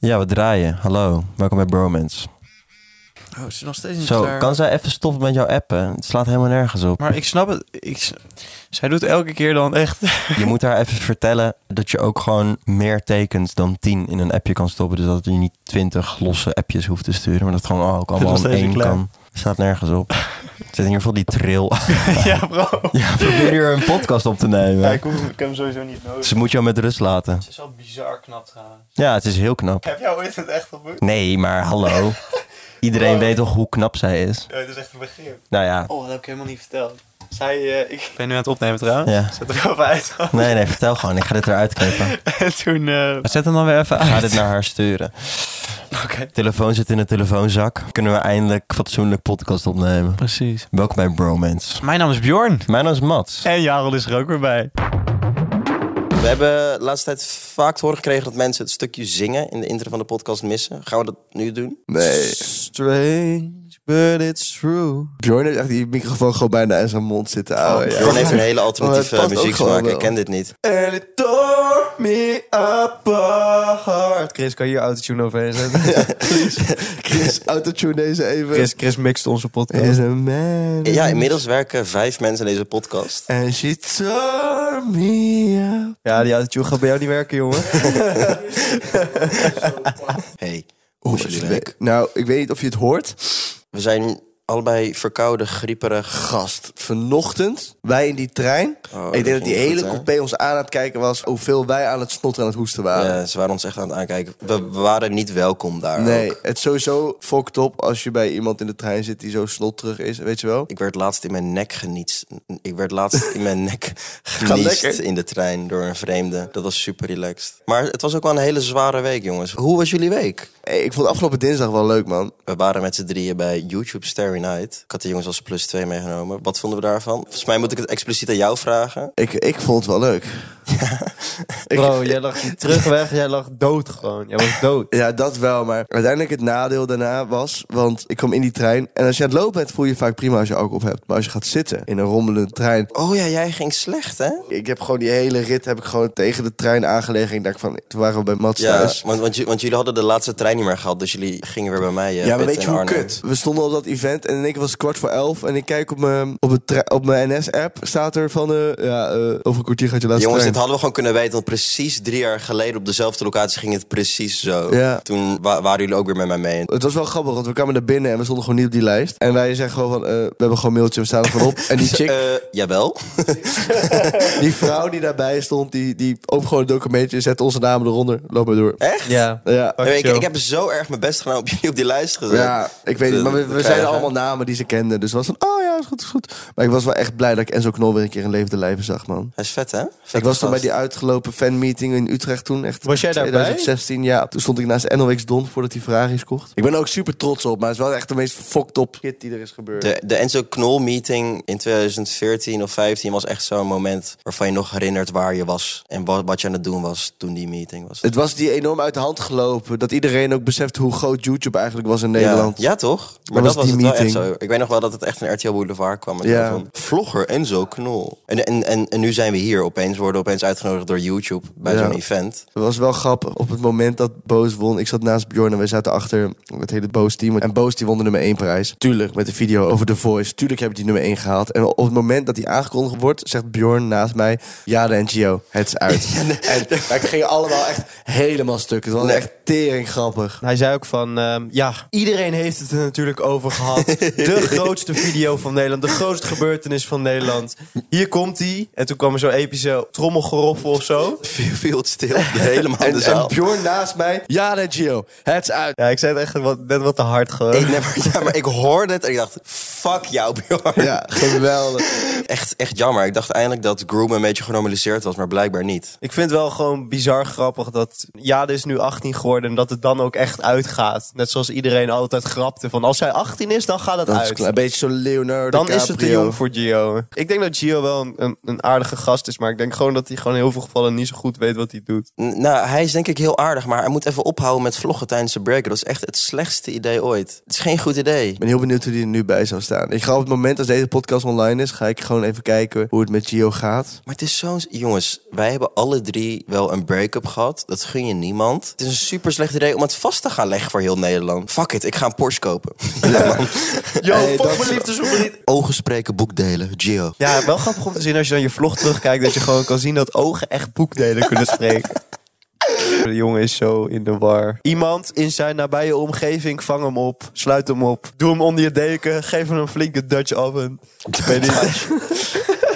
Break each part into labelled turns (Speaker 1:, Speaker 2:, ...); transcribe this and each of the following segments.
Speaker 1: Ja, we draaien. Hallo, welkom bij Bromance.
Speaker 2: Oh, ze is nog steeds niet
Speaker 1: Zo,
Speaker 2: klaar.
Speaker 1: kan zij even stoppen met jou appen? Het slaat helemaal nergens op.
Speaker 2: Maar ik snap het. Ik, s- zij doet elke keer dan echt...
Speaker 1: Je moet haar even vertellen dat je ook gewoon meer tekens dan 10 in een appje kan stoppen. Dus dat je niet 20 losse appjes hoeft te sturen. Maar dat het gewoon oh, ook allemaal
Speaker 3: was
Speaker 1: in
Speaker 3: deze
Speaker 1: één
Speaker 3: klein.
Speaker 1: kan. Staat nergens op. Er zit in ieder geval die trill.
Speaker 2: ja, bro.
Speaker 1: ja, probeer hier een podcast op te nemen.
Speaker 2: ik, hoef, ik heb hem sowieso niet nodig.
Speaker 1: Ze moet jou met rust laten.
Speaker 2: Ze is al bizar knap trouwens.
Speaker 1: Ja, het is heel knap.
Speaker 2: Heb jij ooit het echt ontmoet?
Speaker 1: Nee, maar hallo. Iedereen weet toch hoe knap zij is?
Speaker 2: Ja, dat is echt een begrip.
Speaker 1: Nou ja.
Speaker 2: Oh, dat heb ik helemaal niet verteld. Zij, eh, ik ben nu aan het opnemen trouwens.
Speaker 1: ja.
Speaker 2: Zet hem even uit.
Speaker 1: Nee, nee, vertel gewoon. Ik ga dit eruit knippen.
Speaker 2: en toen... eh, Zet hem dan weer even
Speaker 1: Ik ga dit naar haar sturen.
Speaker 2: Oké.
Speaker 1: Telefoon zit in de telefoonzak. Kunnen we eindelijk fatsoenlijk podcast opnemen.
Speaker 2: Precies.
Speaker 1: Welkom bij Bromance.
Speaker 2: Mijn naam is Bjorn.
Speaker 1: Mijn naam is Mats.
Speaker 2: En Jarel is er ook weer bij.
Speaker 1: We hebben de laatste tijd vaak te horen gekregen dat mensen het stukje zingen in de intro van de podcast missen. Gaan we dat nu doen?
Speaker 3: Nee.
Speaker 4: Strange, but it's true.
Speaker 3: Bjorn heeft echt die microfoon gewoon bijna in zijn mond zitten. ouwe, ja.
Speaker 1: Jorn heeft een hele
Speaker 3: Oh, het
Speaker 1: alternatieve
Speaker 3: past ook
Speaker 1: muzieksmaak.
Speaker 3: gewoon wel.
Speaker 1: Ik ken dit niet.
Speaker 4: And it tore me apart. Chris, kan je hier autotune overheen zetten?
Speaker 3: Chris, autotune deze even.
Speaker 4: Chris, Chris mixt onze podcast.
Speaker 3: is a man.
Speaker 1: Ja, inmiddels werken vijf mensen in deze podcast.
Speaker 3: And she tore me up.
Speaker 4: Ja, die autotune gaat bij jou niet werken, jongen.
Speaker 1: Hey,
Speaker 4: Oh,
Speaker 1: hoe is jullie week?
Speaker 3: Nou, ik weet niet of je het hoort.
Speaker 1: We zijn allebei verkouden, grieperig.
Speaker 3: Gast, vanochtend, wij in die trein.
Speaker 1: Oh,
Speaker 3: ik denk dat
Speaker 1: ging
Speaker 3: die
Speaker 1: goed,
Speaker 3: hele
Speaker 1: hè?
Speaker 3: coupé ons aan aan het kijken was... hoeveel wij aan het snotten en aan het hoesten waren.
Speaker 1: Ja, ze waren ons echt aan het aankijken. We we waren niet welkom daar.
Speaker 3: Nee,
Speaker 1: ook.
Speaker 3: het is sowieso fokt op als je bij iemand in de trein zit die zo snotterig is, weet je wel?
Speaker 1: Ik werd laatst in mijn nek genietst. Ik werd laatst in mijn nek geniest
Speaker 3: lekker.
Speaker 1: in de trein door een vreemde. Dat was super relaxed. Maar het was ook wel een hele zware week, jongens. Hoe was jullie week?
Speaker 3: Hey, ik vond afgelopen dinsdag wel leuk, man.
Speaker 1: We waren met z'n drieën bij YouTube Starry Night. Ik had de jongens als plus 2 meegenomen. Wat vonden we daarvan? Volgens mij moet ik het expliciet aan jou vragen.
Speaker 3: Ik, ik vond het wel leuk.
Speaker 4: Bro, jij lag niet terug weg. Jij lag dood gewoon. Jij was dood.
Speaker 3: Ja, dat wel, maar uiteindelijk het nadeel daarna was... want ik kwam in die trein en als je aan het lopen bent voel je je vaak prima als je alcohol op hebt. Maar als je gaat zitten in een rommelende trein...
Speaker 1: Oh ja, jij ging slecht, hè?
Speaker 3: Ik heb gewoon die hele rit heb ik gewoon tegen de trein aangelegen. En ik dacht van, toen waren we bij Mats
Speaker 1: Ja,
Speaker 3: thuis.
Speaker 1: want, want, ju- want jullie hadden de laatste trein niet meer gehad. Dus jullie gingen weer bij mij. eh,
Speaker 3: Ja,
Speaker 1: pitten
Speaker 3: maar weet
Speaker 1: in
Speaker 3: je hoe
Speaker 1: Arnhem.
Speaker 3: kut? We stonden op dat event en in één keer was het kwart voor elf. En ik kijk op mijn, op het tre- op mijn NS-app, staat er van... eh, ja, eh, over een kwartier gaat je laatste
Speaker 1: Jongens, dit
Speaker 3: trein.
Speaker 1: hadden we gewoon kunnen weten. Want precies drie jaar geleden op dezelfde locatie ging het precies zo.
Speaker 3: Ja.
Speaker 1: Toen wa- waren jullie ook weer met mij mee.
Speaker 3: Het was wel grappig, want we kwamen naar binnen en we stonden gewoon niet op die lijst. En wij zeggen gewoon van, eh, we hebben gewoon een mailtje, we staan er gewoon op. En die chick,
Speaker 1: Eh, jawel.
Speaker 3: die vrouw die daarbij stond, die, die opent gewoon een documentje, zet onze namen eronder, loop maar door.
Speaker 1: Echt?
Speaker 4: Ja.
Speaker 3: Ja,
Speaker 4: Fuck
Speaker 1: Nee, ik,
Speaker 4: show.
Speaker 1: ik heb zo erg mijn best gedaan om jullie op die lijst gezet.
Speaker 3: ja ik weet niet, maar we, we
Speaker 1: Krijgen.
Speaker 3: zeiden allemaal namen die ze kenden. Dus het was van, oh ja, is goed, is goed. Maar ik was wel echt blij dat ik Enzo Knol weer een keer in levende lijven zag, man.
Speaker 1: Hij is vet, hè? Vet
Speaker 3: Ik was toen bij
Speaker 1: gast.
Speaker 3: die uitgelopen fanmeeting in Utrecht toen. Echt
Speaker 4: Was jij daarbij?
Speaker 3: 2016, ja. Toen stond ik naast NOX Don voordat hij Ferraris kocht. Ik ben er ook super trots op, maar het is wel echt de meest fucked up shit die er is gebeurd.
Speaker 1: De, de Enzo Knol meeting in 2014 of 15 was echt zo'n moment waarvan je nog herinnert waar je was. En wat, wat je aan het doen was toen die meeting was.
Speaker 3: Het was die enorm uit de hand gelopen. Dat iedereen ook beseft hoe groot YouTube eigenlijk was in Nederland.
Speaker 1: Ja, ja toch? Maar
Speaker 3: was
Speaker 1: dat was
Speaker 3: die
Speaker 1: het wel echt
Speaker 3: meeting.
Speaker 1: zo. Ik weet nog wel dat het echt een RTL Boulevard kwam. En
Speaker 3: Ja.
Speaker 1: zo van, Vlogger Enzo Knol. En, en, en, en nu zijn we hier opeens. Worden opeens uitgenodigd door YouTube bij
Speaker 3: Ja.
Speaker 1: zo'n event.
Speaker 3: Het was wel grappig. Op het moment dat Boos won, ik zat naast Bjorn en wij zaten achter het hele Boos team. En Boos die won de nummer 1 prijs. Tuurlijk, met de video over The Voice. Tuurlijk heb ik die nummer 1 gehaald. En op het moment dat die aangekondigd wordt, zegt Bjorn naast mij: Ja, de NGO, het is uit. en wij gingen allemaal echt helemaal stuk. Het was echt tering grappig.
Speaker 4: Hij zei ook van, ehm, ja, iedereen heeft het er natuurlijk over gehad. De grootste video van Nederland, de grootste gebeurtenis van Nederland. Hier komt hij. En toen kwam er zo'n epische trommelgeroffel of zo.
Speaker 1: Viel, viel het stil. Helemaal in
Speaker 3: En,
Speaker 1: de
Speaker 3: en
Speaker 1: zaal.
Speaker 3: Bjorn naast mij: Ja, de NGO, het is uit.
Speaker 4: Ja, ik zei het echt wat, net wat te hard gewoon.
Speaker 1: Ik, nee, maar, ja, maar ik hoorde het en ik dacht, fuck jou Bjorn.
Speaker 3: Ja, geweldig.
Speaker 1: Echt, echt jammer. Ik dacht eindelijk dat Groom een beetje genormaliseerd was, maar blijkbaar niet.
Speaker 4: Ik vind het wel gewoon bizar grappig dat Jade is nu 18 geworden en dat het dan ook echt uitgaat. Net zoals iedereen altijd grapte van als zij 18 is, dan gaat het
Speaker 3: Dat is
Speaker 4: uit.
Speaker 3: klaar. een beetje zo'n Leonardo
Speaker 4: Dan is het te
Speaker 3: DiCaprio.
Speaker 4: jong voor Gio. Ik denk dat Gio wel een, een, een aardige gast is, maar ik denk gewoon dat
Speaker 5: hij gewoon in heel veel gevallen niet zo goed weet wat hij doet.
Speaker 1: N- Nou, hij is denk ik heel aardig, maar hij moet even ophouden met vloggen tijdens de break. Dat is echt het slechtste idee ooit. Het is geen goed idee.
Speaker 3: Ik ben heel benieuwd hoe die er nu bij zou staan. Ik ga op het moment als deze podcast online is, ga ik gewoon even kijken hoe het met Gio gaat.
Speaker 1: Maar het is zo'n... Jongens, wij hebben alle drie wel een break-up gehad. Dat gun je niemand. Het is een super slecht idee om het vast te gaan leggen voor heel Nederland. Fuck it, ik ga een Porsche kopen.
Speaker 5: Yo,
Speaker 3: Hey,
Speaker 5: fuck
Speaker 3: dat-
Speaker 5: mijn liefdesverdriet.
Speaker 1: Ogen spreken, boekdelen, Gio.
Speaker 5: Ja, wel grappig om te zien als je dan je vlog terugkijkt... dat je gewoon kan zien dat ogen echt boekdelen kunnen spreken. De jongen is zo in de war. Iemand in zijn nabije omgeving, vang hem op. Sluit hem op. Doe hem onder je deken. Geef hem een flinke Dutch oven. Ik weet niet.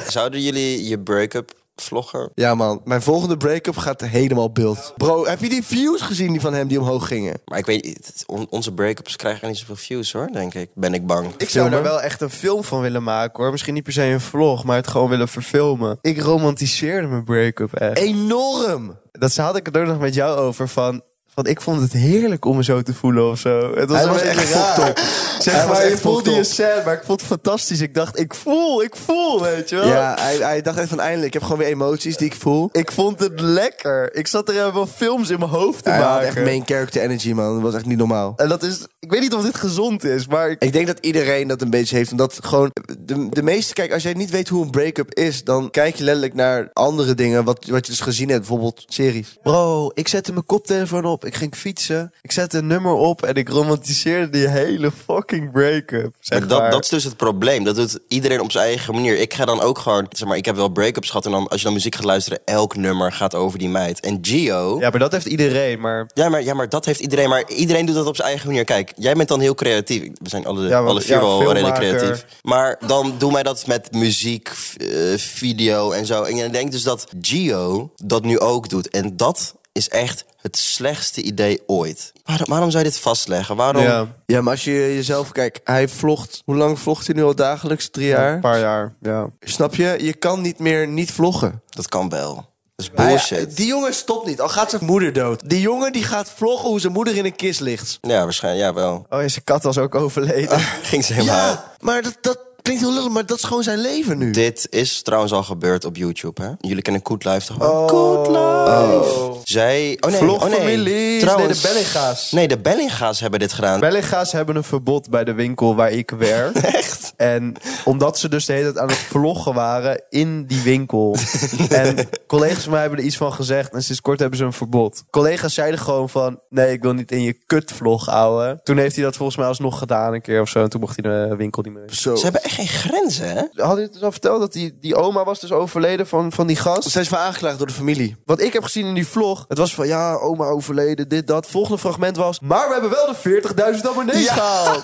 Speaker 1: Zouden jullie je break-up vloggen?
Speaker 3: Ja man, mijn volgende break-up gaat helemaal beeld. Bro, heb je die views gezien die van hem die omhoog gingen?
Speaker 1: Maar ik weet niet, het- on- onze break-ups krijgen niet zoveel views hoor, denk ik. Ben ik bang.
Speaker 5: Ik zou daar wel echt een film van willen maken hoor. Misschien niet per se een vlog, maar het gewoon willen verfilmen. Ik romantiseerde mijn break-up echt.
Speaker 3: Enorm!
Speaker 5: Dat had ik het ook nog met jou over van... van ik vond het heerlijk om me zo te voelen of zo. Het was,
Speaker 3: Hij
Speaker 5: een
Speaker 3: was
Speaker 5: beetje
Speaker 3: echt
Speaker 5: raar.
Speaker 3: fucked
Speaker 5: Zeg
Speaker 3: Hij was
Speaker 5: maar, ik
Speaker 3: echt
Speaker 5: voelde je
Speaker 3: fucked
Speaker 5: sad, maar ik vond het fantastisch. Ik dacht, ik voel, ik voel, weet je wel.
Speaker 3: Ja, hij, hij dacht echt van eindelijk, ik heb gewoon weer emoties die ik voel.
Speaker 5: Ik vond het lekker. Ik zat er helemaal films in mijn hoofd te
Speaker 3: Hij had
Speaker 5: maken.
Speaker 3: echt main character energy man, dat was echt niet normaal.
Speaker 5: En dat is... Ik weet niet of dit gezond is, maar... ik-
Speaker 3: Ik denk dat iedereen dat een beetje heeft. Omdat gewoon de, de meeste... Kijk, als jij niet weet hoe een break-up is... dan kijk je letterlijk naar andere dingen... wat, wat je dus gezien hebt. Bijvoorbeeld series.
Speaker 5: Bro, ik zette mijn koptelefoon op. Ik ging fietsen. Ik zette een nummer op en ik romantiseerde die hele fucking break-up. Zeg
Speaker 1: Maar dat,
Speaker 5: maar.
Speaker 1: dat is dus het probleem. Dat doet iedereen op zijn eigen manier. Ik ga dan ook gewoon, zeg maar, ik heb wel break-ups gehad. En dan, als je dan muziek gaat luisteren, elk nummer gaat over die meid. En Gio. Ja.
Speaker 5: Ja, maar dat heeft iedereen, maar...
Speaker 1: maar, ja, maar dat heeft iedereen. Maar iedereen doet dat op zijn eigen manier. Kijk, jij bent dan heel creatief. We zijn alle,
Speaker 5: Ja, want-
Speaker 1: alle vier
Speaker 5: ja,
Speaker 1: wel redelijk
Speaker 5: filmmaker.
Speaker 1: creatief. Maar dan doen wij dat met muziek, f- eh, video en zo. En je denkt dus dat Gio dat nu ook doet. En dat is echt het slechtste idee ooit. Waarom, waarom zou je dit vastleggen? Waarom?
Speaker 5: Ja,
Speaker 3: Oh. Ja, maar als je jezelf... Kijk, hij vlogt... Hoe lang vlogt hij nu al dagelijks? Drie jaar?
Speaker 5: een paar jaar, ja.
Speaker 3: Snap je? Je kan niet meer niet vloggen.
Speaker 1: Dat kan wel. Dat is
Speaker 3: Hij- eh,
Speaker 1: bullshit.
Speaker 3: Nou die jongen stopt niet. Al gaat zijn moeder dood. Die jongen die gaat vloggen hoe zijn moeder in een kist ligt. Ah.
Speaker 1: Ja, waarschijnlijk. Ja, wel.
Speaker 5: Oh, en zijn kat was ook overleden.
Speaker 1: Ging ze helemaal.
Speaker 3: Ja, maar dat, dat klinkt heel lullig. Maar dat is gewoon zijn leven nu.
Speaker 1: Dit is trouwens al gebeurd op YouTube, hè? Jullie kennen Koet Live toch wel? Koet Live! Zij... Oh nee, oh nee.
Speaker 5: Vlogfamilies.
Speaker 1: Trouwens...
Speaker 5: Nee, de Bellinga's.
Speaker 1: Nee, de Bellinga's hebben dit gedaan.
Speaker 5: Bellinga's hebben een verbod bij de winkel waar ik werk.
Speaker 1: Echt?
Speaker 5: En omdat ze dus de hele tijd aan het vloggen waren in die winkel. en collega's van mij hebben er iets van gezegd. En sinds kort hebben ze een verbod. Collega's zeiden gewoon van... Nee, ik wil niet in je kut vlog, ouwe. Toen heeft hij dat volgens mij alsnog gedaan een keer of zo. En toen mocht hij de winkel niet meer.
Speaker 3: Zo.
Speaker 1: Ze hebben echt geen grenzen, hè?
Speaker 5: Had je het dus al verteld dat die, die oma was dus overleden van, van die gast?
Speaker 3: Zij is van aangeklaagd door de familie.
Speaker 5: Wat ik heb gezien in die vlog, het was van ja, oma overleden, dit, dat. Volgende fragment was, maar we hebben wel de 40.000 abonnees gehaald.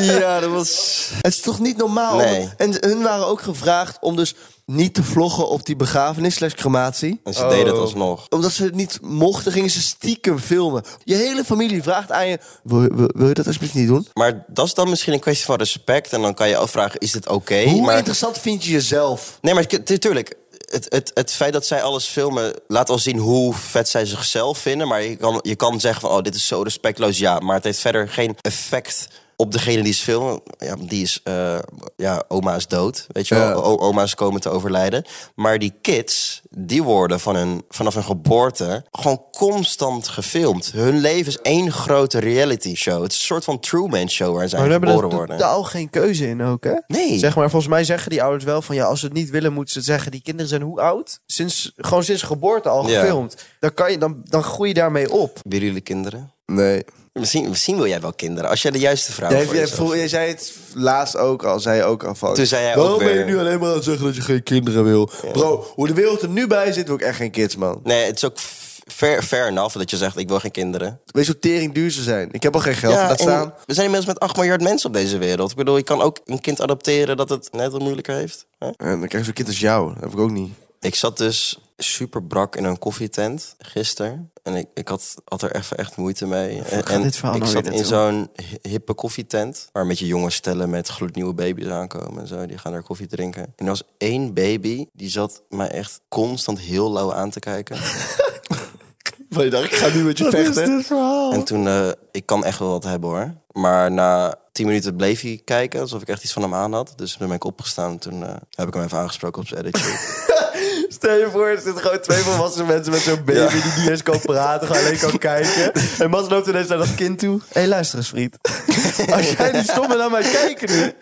Speaker 1: Ja, dat was...
Speaker 3: Het is toch niet normaal?
Speaker 1: Nee.
Speaker 3: En hun waren ook gevraagd om dus niet te vloggen op die begrafenis slash crematie.
Speaker 1: En ze deden het alsnog.
Speaker 3: Omdat ze het niet mochten, gingen ze stiekem filmen. Je hele familie vraagt aan je... Wil, wil, wil je dat alsjeblieft niet doen?
Speaker 1: Maar dat is dan misschien een kwestie van respect. En dan kan je afvragen, is dit oké?
Speaker 3: Hoe
Speaker 1: maar...
Speaker 3: interessant vind je jezelf?
Speaker 1: Nee, maar natuurlijk. Het, het, het feit dat zij alles filmen laat al zien hoe vet zij zichzelf vinden. Maar je kan, je kan zeggen van, oh, dit is zo respectloos, ja. Maar het heeft verder geen effect op degene die is filmen. Ja, die is, eh, ja, oma is dood, weet je wel. O- oma's komen te overlijden. Maar die kids, die worden van hun, vanaf hun geboorte gewoon constant gefilmd. Hun leven is één grote reality show. Het is een soort van Truman Show waar zij
Speaker 5: Maar we hebben
Speaker 1: geboren
Speaker 5: er
Speaker 1: worden.
Speaker 5: totaal geen keuze in ook, hè?
Speaker 1: Nee.
Speaker 5: Zeg maar, volgens mij zeggen die ouders wel van ja, als ze het niet willen, moeten ze het zeggen. Die kinderen zijn hoe oud? Sinds, gewoon sinds geboorte al
Speaker 1: Ja.
Speaker 5: gefilmd. Dan, kan je, dan, dan groei je daarmee op.
Speaker 1: Willen jullie kinderen?
Speaker 3: Nee.
Speaker 1: Misschien, misschien wil jij wel kinderen, als jij de juiste vrouw
Speaker 3: Jij,
Speaker 1: voor
Speaker 3: jij
Speaker 1: jezelf
Speaker 3: voel- jij zei het laatst ook al, zei je ook al van...
Speaker 1: Toen zei jij ook
Speaker 3: Waarom ben je
Speaker 1: weer-
Speaker 3: nu alleen maar aan het zeggen dat je geen kinderen wil? Bro, hoe de wereld er nu bij zit, wil ik echt geen kids, man.
Speaker 1: Nee, het is ook f- fair, fair enough dat je zegt, ik wil geen kinderen.
Speaker 3: Weet je hoe tering duur ze zijn? Ik heb al geen geld, laat
Speaker 1: en
Speaker 3: staan.
Speaker 1: we zijn inmiddels met 8 miljard mensen op deze wereld. Ik bedoel, je kan ook een kind adopteren dat het net wat moeilijker heeft. hè?
Speaker 3: En dan krijg je zo'n kind als jou. Dat heb ik ook niet.
Speaker 1: Ik zat dus super brak in een koffietent gisteren. En ik, ik had, had er even echt moeite mee. En, en
Speaker 5: dit verhaal
Speaker 1: ik
Speaker 5: nou weer
Speaker 1: zat in zo'n hi- hippe koffietent. Waar een beetje jonge stellen met gloednieuwe baby's aankomen en zo. Die gaan daar koffie drinken. En er was één baby die zat mij echt constant heel lauw aan te kijken.
Speaker 3: Van je dacht, ik ga nu met je vechten.
Speaker 1: En toen, eh, ik kan echt wel wat hebben hoor. Maar na tien minuten bleef hij kijken, alsof ik echt iets van hem aan had. Dus toen ben ik opgestaan en toen eh, heb ik hem even aangesproken op zijn editje.
Speaker 5: Stel je voor, er zitten gewoon twee volwassen mensen met zo'n baby die niet eens kan praten, gewoon alleen kan kijken. En Mas loopt ineens naar dat kind toe. Hé, hey, luister eens, vriend. Als jij die stomme naar mij kijken nu,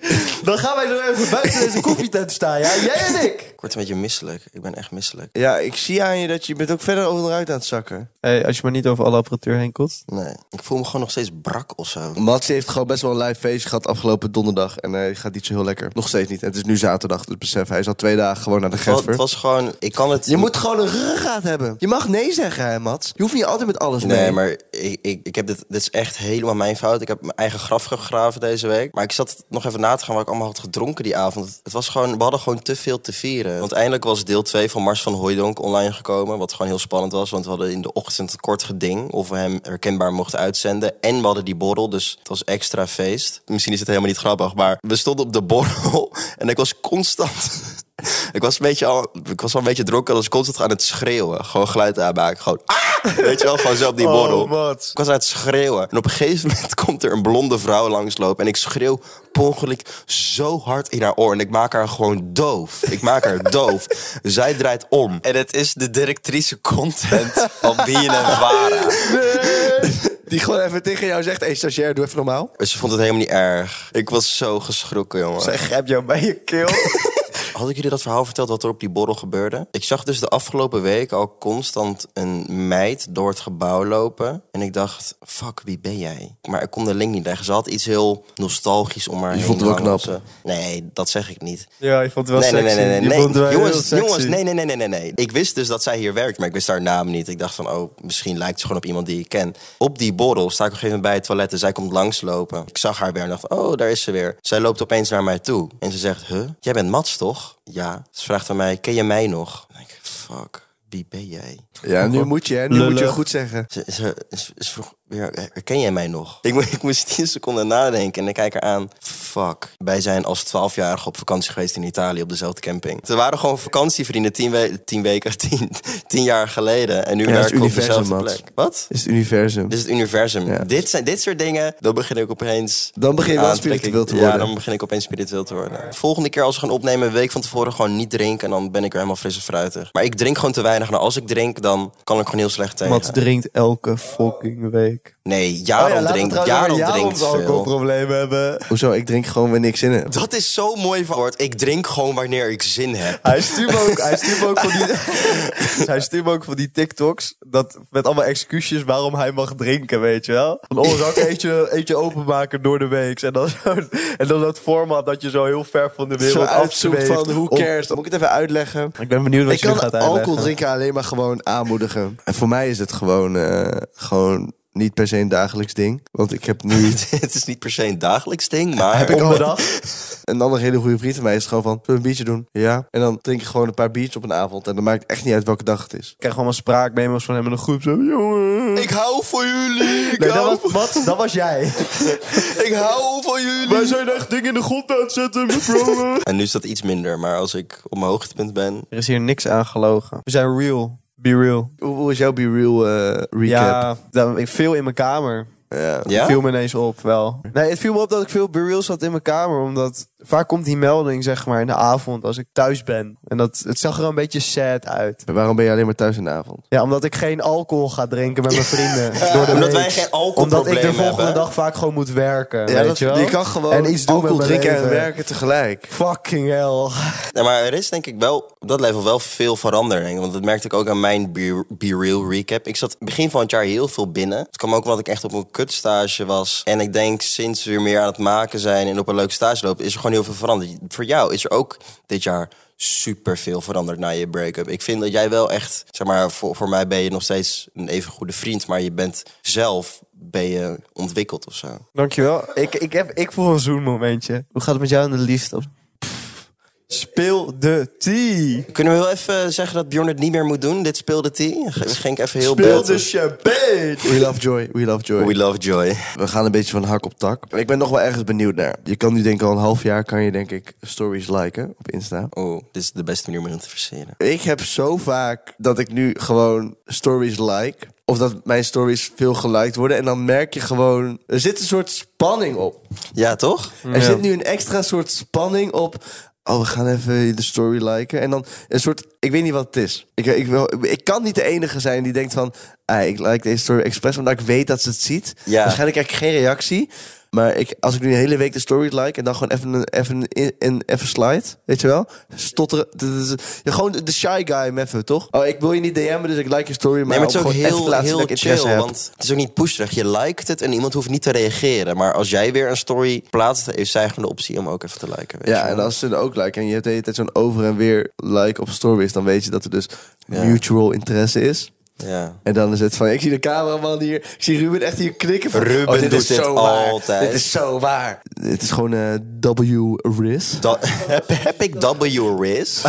Speaker 5: dan gaan wij zo even buiten deze koffietent staan, ja? Jij en ik.
Speaker 1: Ik word een beetje misselijk. Ik ben echt misselijk.
Speaker 3: Ja, ik zie aan je dat je bent ook verder onderuit aan het zakken.
Speaker 5: Hé, als je maar niet over alle apparatuur heen kotst.
Speaker 1: Nee. Ik voel me gewoon nog steeds brak of zo.
Speaker 3: Mats heeft gewoon best wel een live feestje gehad afgelopen donderdag. En hij gaat niet zo heel lekker. Nog steeds niet. En het is nu zaterdag, dus besef. Hij is al twee dagen gewoon naar de
Speaker 1: Het
Speaker 3: greffer.
Speaker 1: was gewoon... Ik kan het...
Speaker 3: Je moet gewoon een ruggengraat hebben. Je mag nee zeggen, hè, Mats. Je hoeft niet altijd met alles mee.
Speaker 1: Nee, maar ik, ik, ik heb dit, dit is echt helemaal mijn fout. Ik heb mijn eigen graf gegraven deze week. Maar ik zat nog even na te gaan wat ik allemaal had gedronken die avond. Het was gewoon, we hadden gewoon te veel te vieren. Want eindelijk was deel 2 van Mars van Hooijdonk online gekomen. Wat gewoon heel spannend was. Want we hadden in de ochtend een kort geding. Of we hem herkenbaar mochten uitzenden. En we hadden die borrel. Dus het was extra feest. Misschien is het helemaal niet grappig. Maar we stonden op de borrel. En ik was constant. Ik was, een beetje al, ik was al een beetje dronken, dus constant aan het schreeuwen. Gewoon geluid aanmaken. Gewoon, ah! Weet je wel, gewoon zo op
Speaker 2: Oh,
Speaker 1: die borrel. Ik was aan het schreeuwen. En op een gegeven moment komt er een blonde vrouw langslopen. En ik schreeuw per ongeluk zo hard in haar oor. En ik maak haar gewoon doof. Ik maak haar doof. Zij draait om.
Speaker 2: En het is de directrice content van BNNVARA.
Speaker 3: Die gewoon even tegen jou zegt, hey stagiair, doe even normaal.
Speaker 5: Oh.
Speaker 1: Maar Ze vond het helemaal niet erg. Ik was zo geschrokken, jongen.
Speaker 5: Zij grijpt jou bij je keel.
Speaker 1: Had ik jullie dat verhaal verteld wat er op die borrel gebeurde? Ik zag dus de afgelopen week al constant een meid door het gebouw lopen. En ik dacht, fuck, wie ben jij? Maar ik kon de link niet leggen. Ze had iets heel nostalgisch om haar Je heen.
Speaker 3: vond het wel
Speaker 1: hangen.
Speaker 3: knap.
Speaker 1: Ze- Nee, dat zeg ik niet.
Speaker 5: Ja, je vond het wel
Speaker 1: Nee, nee,
Speaker 5: sexy.
Speaker 1: nee, nee,
Speaker 5: Je
Speaker 1: nee.
Speaker 5: vond het wel heel
Speaker 1: Jongens,
Speaker 5: sexy.
Speaker 1: jongens, nee, nee, nee, nee, nee, nee. Ik wist dus dat zij hier werkt, maar ik wist haar naam niet. Ik dacht van, oh, misschien lijkt ze gewoon op iemand die ik ken. Op die borrel sta ik op een gegeven moment bij het toilet en zij komt langslopen. Ik zag haar weer en dacht, oh, daar is ze weer. Zij loopt opeens naar mij toe en ze zegt, huh, jij bent Mats toch? Ja. Ze vraagt aan mij, ken je mij nog? En ik, fuck, wie ben jij?
Speaker 3: Ja, nu moet je, hè. Nu moet je
Speaker 5: Lullig.
Speaker 3: goed zeggen.
Speaker 1: Ze, ze, ze- ze vroeg weer, herken jij mij nog? Ik, mo- ik moest tien seconden nadenken en ik kijk haar aan. Fuck. Wij zijn als twaalfjarige op vakantie geweest in Italië op dezelfde camping. Ze waren gewoon vakantievrienden tien, we- tien weken, tien, tien jaar geleden. En nu
Speaker 3: dat is
Speaker 1: werken we op
Speaker 3: universum,
Speaker 1: dezelfde
Speaker 3: Mats.
Speaker 1: plek. Wat?
Speaker 3: Is het universum.
Speaker 1: Dit is het universum.
Speaker 3: Ja.
Speaker 1: Dit, zijn, dit soort dingen, dan begin ik opeens...
Speaker 3: Dan begin je wel
Speaker 1: aantrekking-
Speaker 3: spiritueel te worden.
Speaker 1: Ja, dan begin ik opeens spiritueel te worden. Volgende keer als we gaan opnemen, een week van tevoren gewoon niet drinken. En dan ben ik weer helemaal fris en fruitig. Maar ik drink gewoon te weinig. Nou, als ik drink, dan kan ik gewoon heel slecht tegen.
Speaker 5: Mats drinkt elke fucking week.
Speaker 1: Nee,
Speaker 5: Ah,
Speaker 1: Jaron drinkt, Jaron drinkt veel.
Speaker 5: alcoholproblemen hebben.
Speaker 3: Hoezo? Ik drink gewoon weer niks in heb.
Speaker 1: Dat is zo mooi verwoord. Ik drink gewoon wanneer ik zin heb.
Speaker 5: Hij stuurt me ook, hij stuurt me ook van die... hij stuurt me ook van die TikToks. Dat, met allemaal excuses waarom hij mag drinken, weet je wel. Van, oh, zou ik eentje, eentje openmaken door de week? En dan, zo- en dan dat format dat je zo heel ver van de
Speaker 3: Zo
Speaker 5: wereld
Speaker 3: uitzoekt
Speaker 5: afzweeft.
Speaker 3: van, hoe
Speaker 5: Om-
Speaker 3: cares? Dan moet ik het even uitleggen.
Speaker 5: Ik ben benieuwd wat
Speaker 3: Ik
Speaker 5: je nu
Speaker 3: kan
Speaker 5: gaat
Speaker 3: alcohol
Speaker 5: uitleggen.
Speaker 3: drinken alleen maar gewoon aanmoedigen. En voor mij is het gewoon, eh, gewoon niet per se een dagelijks ding. Want ik heb nu
Speaker 1: Het is niet per se een dagelijks ding, maar...
Speaker 5: Om de dag.
Speaker 3: een andere hele goede vriend van mij. Is gewoon van, zullen we een biertje doen? Ja. En dan drink ik gewoon een paar biertjes op een avond. En dan maakt het echt niet uit welke dag het is.
Speaker 5: Ik krijg allemaal spraakmemo's van hem in een groep. Zo, jongen.
Speaker 1: Ik hou van jullie, ik,
Speaker 5: Nee,
Speaker 1: hou,
Speaker 5: dat was, Mats, dat was jij.
Speaker 1: ik hou van jullie.
Speaker 5: Wij zijn echt dingen in de grond aan het zetten, mevrouw.
Speaker 1: En nu is dat iets minder, maar als ik op mijn hoogtepunt ben...
Speaker 5: Er is hier niks aan gelogen. We zijn real. Be real.
Speaker 3: Hoe, hoe is jouw Be Real eh, recap?
Speaker 5: Ja, dan, ik veel in mijn kamer.
Speaker 3: Ja.
Speaker 1: Ja?
Speaker 5: viel me ineens op, wel. Nee, het viel me op dat ik veel burials had in mijn kamer. Omdat vaak komt die melding, zeg maar, in de avond als ik thuis ben. En dat, het zag er een beetje sad uit.
Speaker 3: Waarom ben je alleen maar thuis in de avond?
Speaker 5: Ja, omdat ik geen alcohol ga drinken met mijn vrienden. door de
Speaker 1: Omdat
Speaker 5: week.
Speaker 1: wij geen
Speaker 5: Omdat ik de
Speaker 1: alcoholprobleem
Speaker 5: volgende
Speaker 1: hebben.
Speaker 5: dag vaak gewoon moet werken,
Speaker 3: Ja,
Speaker 5: weet
Speaker 3: dat,
Speaker 5: je wel?
Speaker 3: je kan gewoon
Speaker 5: en iets doen
Speaker 3: alcohol
Speaker 5: met mijn
Speaker 3: drinken en
Speaker 5: leven.
Speaker 3: werken tegelijk.
Speaker 5: Fucking hell.
Speaker 1: Nee, maar er is denk ik wel op dat level wel veel verandering. Want dat merkte ik ook aan mijn Be, Be Real recap. Ik zat begin van het jaar heel veel binnen. Het kwam ook omdat ik echt op een kutstage was. En ik denk sinds we weer meer aan het maken zijn en op een leuk stage lopen... is er gewoon heel veel veranderd. Voor jou is er ook dit jaar super veel veranderd na je break-up. Ik vind dat jij wel echt... Zeg maar, voor, voor mij ben je nog steeds een even goede vriend... maar je bent zelf ben je ontwikkeld of zo.
Speaker 5: Dankjewel. Ik, ik, heb, ik voel een zoenmomentje. Hoe gaat het met jou in de liefde? Pff, Speel de tea.
Speaker 1: Kunnen we wel even zeggen dat Bjorn het niet meer moet doen? Dit speelde die? Ging ik even heel
Speaker 5: Speel de
Speaker 1: beeld-
Speaker 5: champagne.
Speaker 3: We love joy, we love joy.
Speaker 1: We love Joy.
Speaker 3: We gaan een beetje van hak op tak. Ik ben nog wel ergens benieuwd naar. Je kan nu denk ik al een half jaar kan je denk ik stories liken op Insta.
Speaker 1: Oh, dit is de beste manier om je te verseren.
Speaker 3: Ik heb zo vaak dat ik nu gewoon stories like. Of dat mijn stories veel geliked worden. En dan merk je gewoon... Er zit een soort spanning op.
Speaker 1: Ja, toch?
Speaker 3: Er zit nu een extra soort spanning op... Oh, we gaan even de story liken. En dan een soort... Ik weet niet wat het is. Ik, ik, wil, ik kan niet de enige zijn die denkt van... "Ah, ik like deze story expres, omdat ik weet dat ze het ziet.
Speaker 1: Ja.
Speaker 3: Waarschijnlijk krijg ik geen reactie. Maar ik, als ik nu de hele week de story like... en dan gewoon even een, even een, in- een- even slide, weet je wel? Stotteren. Dat is- ja, gewoon de shy guy method, toch? Oh, ik wil je niet DM'en, dus ik like je story. Maar,
Speaker 1: Nee, maar het is
Speaker 3: om
Speaker 1: ook
Speaker 3: gewoon even te
Speaker 1: heel,
Speaker 3: laten zien
Speaker 1: heel
Speaker 3: dat ik interesse
Speaker 1: chill,
Speaker 3: heb.
Speaker 1: want het is ook niet pusherig. Je liked het en iemand hoeft niet te reageren. Maar als jij weer een story plaatst, heeft zij gewoon de optie om ook even te liken. Weet
Speaker 3: Ja,
Speaker 1: je wel.
Speaker 3: en als ze er ook liken en je hebt de hele tijd zo'n over en weer like op stories, dan weet je dat er dus mutual interesse is.
Speaker 1: Ja.
Speaker 3: En dan is het van, ik zie de cameraman hier, ik zie Ruben echt hier knikken van,
Speaker 1: Ruben
Speaker 3: oh, dit
Speaker 1: doet
Speaker 3: is
Speaker 1: dit
Speaker 3: zo
Speaker 1: altijd.
Speaker 3: Waar. Dit is zo waar. Het is gewoon eh, W Riz.
Speaker 1: Da- heb, heb ik W Riz?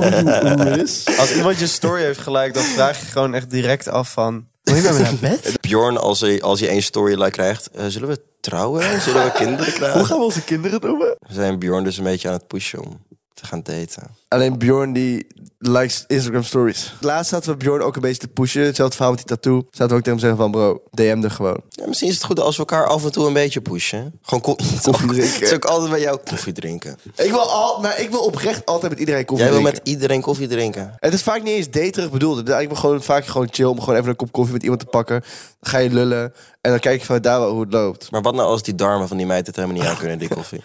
Speaker 3: W Riz.
Speaker 5: Als iemand je story heeft gelijk, dan vraag je gewoon echt direct af van... Wil je met me naar bed?
Speaker 1: Bjorn, als je, als je één story like krijgt, eh, zullen we trouwen? Zullen we kinderen
Speaker 3: Hoe
Speaker 1: krijgen?
Speaker 3: gaan we onze kinderen noemen?
Speaker 1: We zijn Bjorn dus een beetje aan het pushen om te gaan daten.
Speaker 3: Alleen Bjorn die likes Instagram stories. Laatst zaten we Bjorn ook een beetje te pushen. Hetzelfde verhaal met die tattoo. Zaten we ook tegen hem zeggen van bro, DM er gewoon.
Speaker 1: Ja, misschien is het goed als we elkaar af en toe een beetje pushen. Gewoon ko-
Speaker 3: Koffie drinken.
Speaker 1: Het is ook altijd bij jou koffie drinken.
Speaker 3: Ik wil, al, maar ik wil oprecht altijd met iedereen koffie
Speaker 1: Jij wil
Speaker 3: drinken.
Speaker 1: met iedereen koffie drinken.
Speaker 3: Het is vaak niet eens daterig bedoeld. Het is eigenlijk gewoon, vaak gewoon chill om gewoon even een kop koffie met iemand te pakken. Dan ga je lullen en dan kijk je vanuit daar wel hoe het loopt.
Speaker 1: Maar wat nou als die darmen van die meid het helemaal niet aan kunnen, die koffie?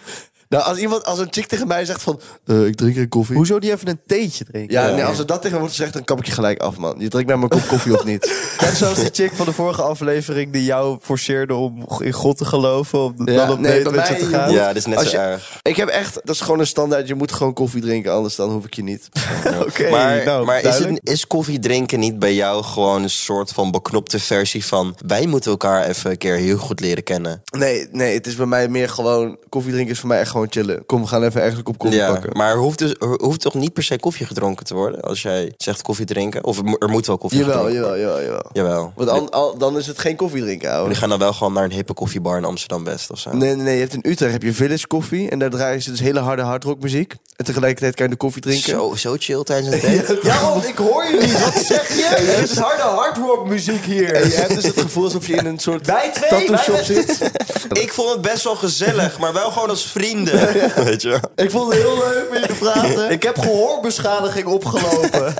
Speaker 3: Nou, als iemand, als een chick tegen mij zegt van, eh, ik drink geen koffie.
Speaker 5: Hoezo die even een theetje drinken?
Speaker 3: Ja, nee, als ze dat tegen me wordt gezegd, dan kap ik je gelijk af, man. Je drinkt naar mijn kop koffie of niet.
Speaker 5: Net zoals die chick van de vorige aflevering die jou forceerde om in God te geloven. Om
Speaker 3: Ja,
Speaker 5: dan op
Speaker 3: nee,
Speaker 5: date
Speaker 3: bij
Speaker 5: met ze
Speaker 3: mij-
Speaker 5: te gaan.
Speaker 1: Ja, dit is net
Speaker 3: Als
Speaker 1: zo
Speaker 3: je-
Speaker 1: erg.
Speaker 3: Ik heb echt, dat is gewoon een standaard. Je moet gewoon koffie drinken, anders dan hoef ik je niet.
Speaker 5: Oké,
Speaker 1: maar
Speaker 5: nou,
Speaker 1: maar is,
Speaker 5: duidelijk.
Speaker 1: het, is koffie drinken niet bij jou gewoon een soort van beknopte versie van... wij moeten elkaar even een keer heel goed leren kennen?
Speaker 3: Nee, nee, het is bij mij meer gewoon, koffie drinken is voor mij echt gewoon chillen. Kom, we gaan even ergens een kop koffie
Speaker 1: Ja,
Speaker 3: pakken.
Speaker 1: maar er hoeft, dus, er hoeft toch niet per se koffie gedronken te worden als jij zegt koffie drinken? Of er mo- er moet wel koffie
Speaker 3: Jawel,
Speaker 1: gedronken
Speaker 3: jawel, jawel, jawel.
Speaker 1: worden? Jawel.
Speaker 3: Want an- al- dan is het geen koffie drinken, ouwe.
Speaker 1: Jullie gaan dan wel gewoon naar een hippe koffiebar in Amsterdam-West of zo?
Speaker 3: Nee, nee, nee. Je hebt in Utrecht heb je Village Coffee. En daar draaien ze dus hele harde hardrockmuziek. En tegelijkertijd kan je de koffie drinken.
Speaker 1: Zo, zo chill tijdens een date?
Speaker 3: Ja, want ik hoor je niet. Wat zeg je? Er is harde hardrockmuziek hier. En je hebt dus het gevoel alsof je in een soort
Speaker 1: Wij twee,
Speaker 3: tattoo
Speaker 1: wij
Speaker 3: shop
Speaker 1: met-
Speaker 3: zit.
Speaker 1: Ik vond het best wel gezellig, maar wel gewoon als vrienden. Weet je wel?
Speaker 3: Ik vond het heel leuk met je te praten.
Speaker 5: Ik heb gehoorbeschadiging opgelopen.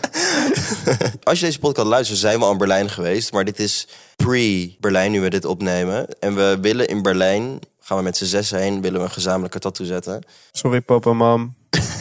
Speaker 1: Als je deze podcast luistert, zijn we al in Berlijn geweest. Maar dit is pre-Berlijn nu we dit opnemen. En we willen in Berlijn, gaan we met z'n zes heen, willen we een gezamenlijke tattoo zetten.
Speaker 5: Sorry papa, mam.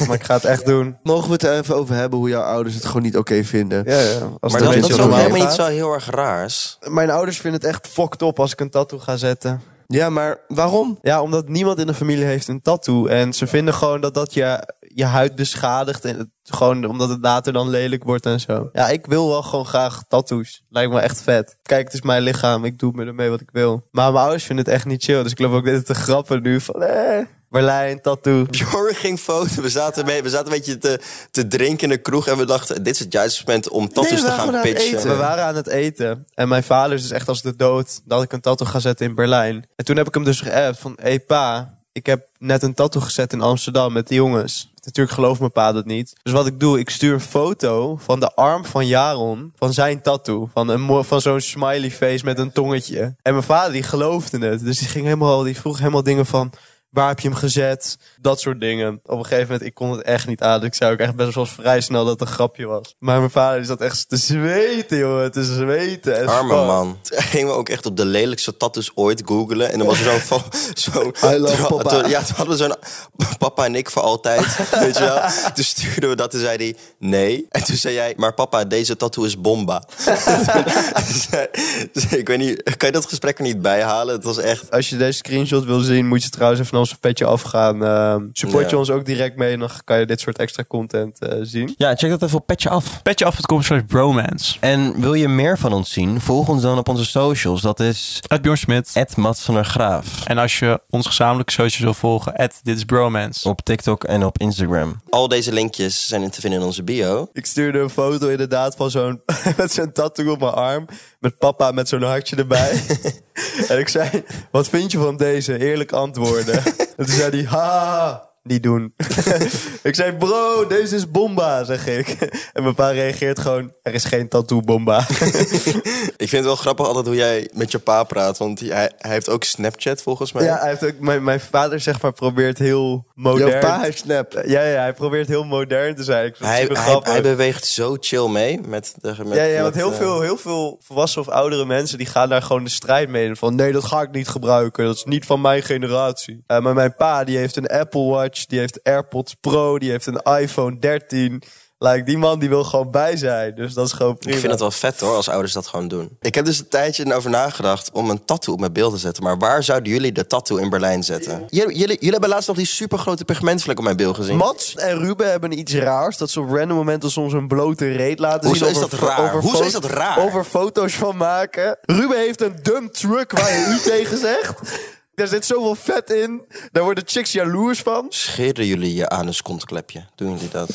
Speaker 5: Maar ik ga het echt doen.
Speaker 3: Mogen we het er even over hebben hoe jouw ouders het gewoon niet oké vinden?
Speaker 5: Ja, ja.
Speaker 1: Maar dat,
Speaker 5: Als het een
Speaker 1: dat
Speaker 5: beetje
Speaker 1: is
Speaker 3: wel
Speaker 1: ook
Speaker 5: normaal
Speaker 1: helemaal niet
Speaker 5: gaat.
Speaker 1: zo heel erg raars.
Speaker 5: Mijn ouders vinden het echt fucked op als ik een tattoo ga zetten.
Speaker 3: Ja, maar waarom?
Speaker 5: Ja, omdat niemand in de familie heeft een tattoo. En ze vinden gewoon dat dat je, je huid beschadigt. En het, gewoon omdat het later dan lelijk wordt en zo. Ja, ik wil wel gewoon graag tattoos. Lijkt me echt vet. Kijk, het is mijn lichaam. Ik doe me ermee wat ik wil. Maar mijn ouders vinden het echt niet chill. Dus ik loop ook dit te grappen nu. Van, eh, Berlijn, tattoo.
Speaker 1: Bjorn ging foto. We zaten, mee, we zaten een beetje te, te drinken in de kroeg. En we dachten, dit is het juiste moment om tattoos
Speaker 3: Nee, we
Speaker 1: te
Speaker 3: waren
Speaker 1: gaan
Speaker 3: gewoon aan het
Speaker 1: pitchen.
Speaker 5: We waren aan het eten. En mijn vader is dus echt als de dood dat ik een tattoo ga zetten in Berlijn. En toen heb ik hem dus geappt van... Hé hey pa, ik heb net een tattoo gezet in Amsterdam met de jongens. Natuurlijk gelooft mijn pa dat niet. Dus wat ik doe, ik stuur een foto van de arm van Jaron. Van zijn tattoo. Van, een mo- van zo'n smiley face met een tongetje. En mijn vader die geloofde het. Dus die, ging helemaal, die vroeg helemaal dingen van... Waar heb je hem gezet? Dat soort dingen. Op een gegeven moment, ik kon het echt niet aan. Ik zei ook echt best wel vrij snel dat het een grapje was. Maar mijn vader is dat echt te zweten, jongen. Te zweten. En
Speaker 1: Arme
Speaker 5: fuck.
Speaker 1: man. Toen gingen we ook echt op de lelijkste tattoos ooit googelen. En dan was er zo'n... fo- zo'n
Speaker 3: I love
Speaker 1: Toen-
Speaker 3: papa.
Speaker 1: toen- ja, toen hadden we zo'n... Papa en ik voor altijd. weet je wel? Toen stuurden we dat en zei hij nee. En toen zei jij, maar papa, deze tattoo is bomba. Zei- zei- ik weet niet, kan je dat gesprek er niet bij halen? Het was echt...
Speaker 5: Als je deze screenshot wil zien, moet je trouwens even van ons petje afgaan. Ehm, support je
Speaker 1: Ja.
Speaker 5: ons ook direct mee, dan kan je dit soort extra content eh, zien.
Speaker 6: Ja, check dat even op Petje Af.
Speaker 2: Petjeaf.com slash bromance.
Speaker 6: En wil je meer van ons zien? Volg ons dan op onze socials. Dat is
Speaker 2: Uit Bjorn Smit.
Speaker 6: Mats van der Graaf.
Speaker 2: En als je ons gezamenlijke socials wil volgen, at dit is bromance.
Speaker 6: Op TikTok en op Instagram.
Speaker 1: Al deze linkjes zijn te vinden in onze bio.
Speaker 5: Ik stuurde een foto inderdaad van zo'n met zo'n tattoo op mijn arm. Met papa met zo'n hartje erbij. en ik zei, wat vind je van deze? Eerlijk antwoorden. en toen zei hij, ha, niet doen. ik zei, bro, deze is bomba, zeg ik. en mijn pa reageert gewoon, er is geen tattoo bomba.
Speaker 1: Ik vind het wel grappig altijd hoe jij met je pa praat. Want hij, hij heeft ook Snapchat volgens mij.
Speaker 5: ja, hij heeft ook, mijn, mijn vader zeg maar probeert heel modern...
Speaker 3: Jouw pa heeft snap.
Speaker 5: Ja, ja, hij probeert heel modern te zijn. Ik vind het
Speaker 1: Hij,
Speaker 5: super
Speaker 1: hij,
Speaker 5: grappig.
Speaker 1: hij beweegt zo chill mee met de met,
Speaker 5: Ja, ja,
Speaker 1: met,
Speaker 5: want heel,
Speaker 1: eh,
Speaker 5: veel, heel veel volwassen of oudere mensen die gaan daar gewoon de strijd mee. Van nee, dat ga ik niet gebruiken. Dat is niet van mijn generatie. Eh, maar mijn pa, die heeft een Apple Watch, die heeft AirPods Pro, die heeft een iPhone 13. Like, die man die wil gewoon bij zijn. Dus dat is gewoon prima.
Speaker 1: Ik vind het wel vet hoor, als ouders dat gewoon doen. Ik heb dus een tijdje over nagedacht om een tattoo op mijn beeld te zetten. Maar waar zouden jullie de tattoo in Berlijn zetten? Jullie, jullie, jullie hebben laatst nog die supergrote pigmentvlek op mijn beeld gezien.
Speaker 5: Mats en Ruben hebben iets raars. Dat ze op random momenten soms een blote reet laten
Speaker 1: Hoezo
Speaker 5: zien.
Speaker 1: is
Speaker 5: over
Speaker 1: dat
Speaker 5: fo-
Speaker 1: raar?
Speaker 5: over
Speaker 1: Hoezo
Speaker 5: fo-
Speaker 1: is dat raar?
Speaker 5: Over foto's van maken. Ruben heeft een dumb truck waar je u tegen zegt. Daar zit zoveel vet in. Daar worden chicks jaloers van.
Speaker 1: Scheren jullie je anuskontklepje? Doen jullie dat?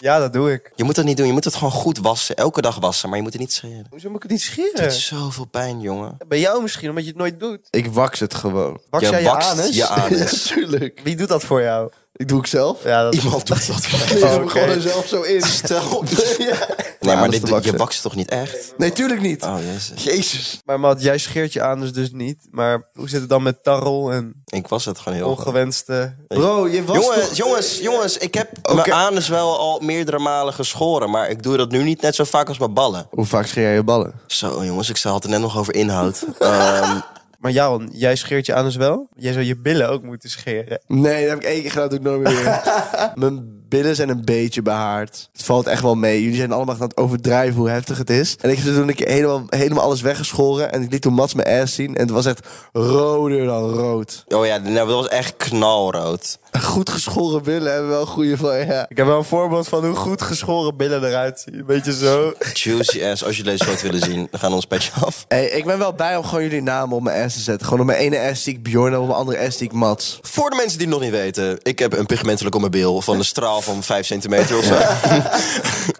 Speaker 5: Ja, dat doe ik.
Speaker 1: Je moet dat niet doen, je moet het gewoon goed wassen. Elke dag wassen, maar je moet het niet scheren.
Speaker 5: Hoezo moet ik het niet
Speaker 1: Het
Speaker 5: scheren?
Speaker 1: is zoveel pijn, jongen.
Speaker 5: Bij jou misschien, omdat je het nooit doet.
Speaker 3: Ik wax het gewoon.
Speaker 5: Wax jij je
Speaker 1: wakst
Speaker 5: anus?
Speaker 1: je anus.
Speaker 3: Ja, tuurlijk.
Speaker 5: Wie doet dat voor jou?
Speaker 3: Ik doe ik zelf.
Speaker 5: Ja, dat...
Speaker 1: Iemand doet dat.
Speaker 3: Ik
Speaker 5: Oh,
Speaker 3: doe hem
Speaker 5: oké.
Speaker 3: gewoon er zelf zo in. Stel.
Speaker 1: Nee, maar
Speaker 3: anus
Speaker 1: dit,
Speaker 3: te
Speaker 1: doe- je
Speaker 3: waksen.
Speaker 1: wakst toch niet echt?
Speaker 3: Nee, tuurlijk niet.
Speaker 1: Oh, jezus.
Speaker 3: Jezus.
Speaker 5: Maar Matt, jij scheert je anus dus niet. Maar hoe zit het dan met tarrel en
Speaker 1: Ik was het gewoon heel goed.
Speaker 5: ongewenste... Bro, je was
Speaker 1: Jongens,
Speaker 5: toch...
Speaker 1: jongens, jongens, ik heb mijn anus wel al meerdere malen geschoren. Maar ik doe dat nu niet net zo vaak als mijn ballen.
Speaker 3: Hoe vaak scheer jij je ballen?
Speaker 1: Zo, jongens, ik had het net nog over inhoud. Ehm,
Speaker 5: Maar Jaron, jij scheert je anus wel? Jij zou je billen ook moeten scheren.
Speaker 3: Nee, dat heb ik één keer gedaan, dat doe ik nooit meer weer. Mijn billen zijn een beetje behaard. Het valt echt wel mee. Jullie zijn allemaal aan het overdrijven hoe heftig het is. En ik heb toen een keer helemaal, helemaal alles weggeschoren. En ik liet toen Mats mijn ass zien. En het was echt roder dan rood.
Speaker 1: oh ja, nou, dat was echt knalrood.
Speaker 3: Goed geschoren billen hebben wel goede van, ja.
Speaker 5: Ik heb wel een voorbeeld van hoe goed geschoren billen eruit zien. Beetje zo.
Speaker 1: Juicy ass. Als jullie deze foto willen zien, dan gaan we ons petje af.
Speaker 3: Hey, ik ben wel bij om gewoon jullie namen op mijn ass te zetten. Gewoon op mijn ene ass zie ik Bjorn en op mijn andere ass zie ik Mats.
Speaker 1: Voor de mensen die het nog niet weten, ik heb een pigmentelijk op mijn bil van een straal van 5 centimeter of zo. Oh,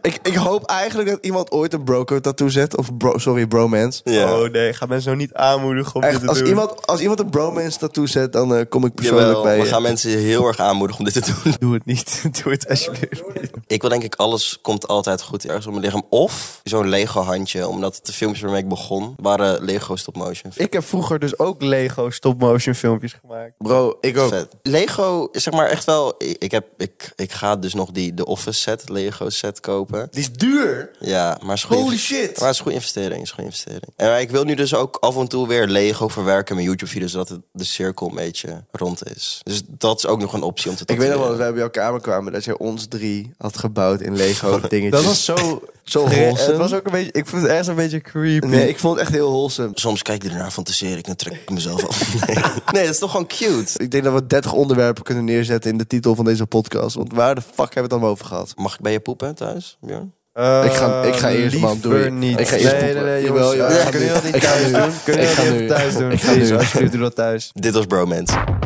Speaker 3: Ik, ik hoop eigenlijk dat iemand ooit een broco tattoo zet. Of bro, sorry, bromance.
Speaker 1: Ja.
Speaker 5: Oh nee, ga mensen nou niet aanmoedigen om dit
Speaker 3: Echt,
Speaker 5: te
Speaker 3: als
Speaker 5: doen.
Speaker 3: iemand, als iemand een bromance tattoo zet, dan eh, kom ik persoonlijk
Speaker 1: Jawel,
Speaker 3: bij
Speaker 1: we
Speaker 3: je.
Speaker 1: gaan mensen heel erg aanmoedigen om dit te doen.
Speaker 5: Doe het niet. Doe het alsjeblieft niet.
Speaker 1: Ik wil denk ik, alles komt altijd goed ergens op mijn lichaam. Of zo'n Lego handje, omdat de filmpjes waarmee ik begon, waren Lego stop motion.
Speaker 5: Ik heb vroeger dus ook Lego stop-motion filmpjes gemaakt.
Speaker 3: Bro, ik ook.
Speaker 1: Vet. Lego is zeg maar echt wel. Ik, ik heb, ik, ik ga dus nog die de Office set, Lego set kopen.
Speaker 3: Die is duur.
Speaker 1: Ja, maar is goed.
Speaker 3: Holy shit.
Speaker 1: Maar het is een goede investering. Is een goede investering. En ik wil nu dus ook af en toe weer Lego verwerken in mijn YouTube-video's, zodat het, de cirkel een beetje rond is. Dus dat is ook nog een optie om te
Speaker 3: Ik weet nog wel dat
Speaker 1: tatoeëren.
Speaker 3: wij bij jouw kamer kwamen, dat jij ons drie had gebouwd in Lego dingetjes.
Speaker 5: Dat was zo...
Speaker 3: zo
Speaker 5: Re-
Speaker 3: wholesome.
Speaker 5: Het was ook een beetje... Ik vond het ergens een beetje creepy.
Speaker 3: Nee, ik vond het echt heel wholesome.
Speaker 1: Soms kijk ik ernaar, fantaseer ik en trek ik mezelf af. Nee. nee, dat is toch gewoon cute.
Speaker 3: Ik denk dat we 30 onderwerpen kunnen neerzetten in de titel van deze podcast. Want waar de fuck hebben we het dan over gehad?
Speaker 1: Mag ik bij je poepen thuis, Bjorn?
Speaker 5: Eh,
Speaker 3: Ik ga- ik ga eerst, man,
Speaker 5: liever
Speaker 3: doei.
Speaker 5: Niet.
Speaker 3: Ik ga eerst
Speaker 5: nee, nee,
Speaker 3: poepen.
Speaker 5: nee,
Speaker 3: Jawel,
Speaker 5: jongens.
Speaker 3: jawel, ik ga
Speaker 5: Kunnen jullie dat
Speaker 3: nu.
Speaker 5: niet
Speaker 3: Ik ga
Speaker 5: thuis
Speaker 3: nu.
Speaker 5: doen? Kunnen
Speaker 3: Ik ga
Speaker 5: jullie dat
Speaker 3: nu.
Speaker 5: thuis doen?
Speaker 3: Ik ga
Speaker 5: Please,
Speaker 3: nu.
Speaker 5: alsjeblieft, doe dat thuis.
Speaker 1: Dit was Bromance.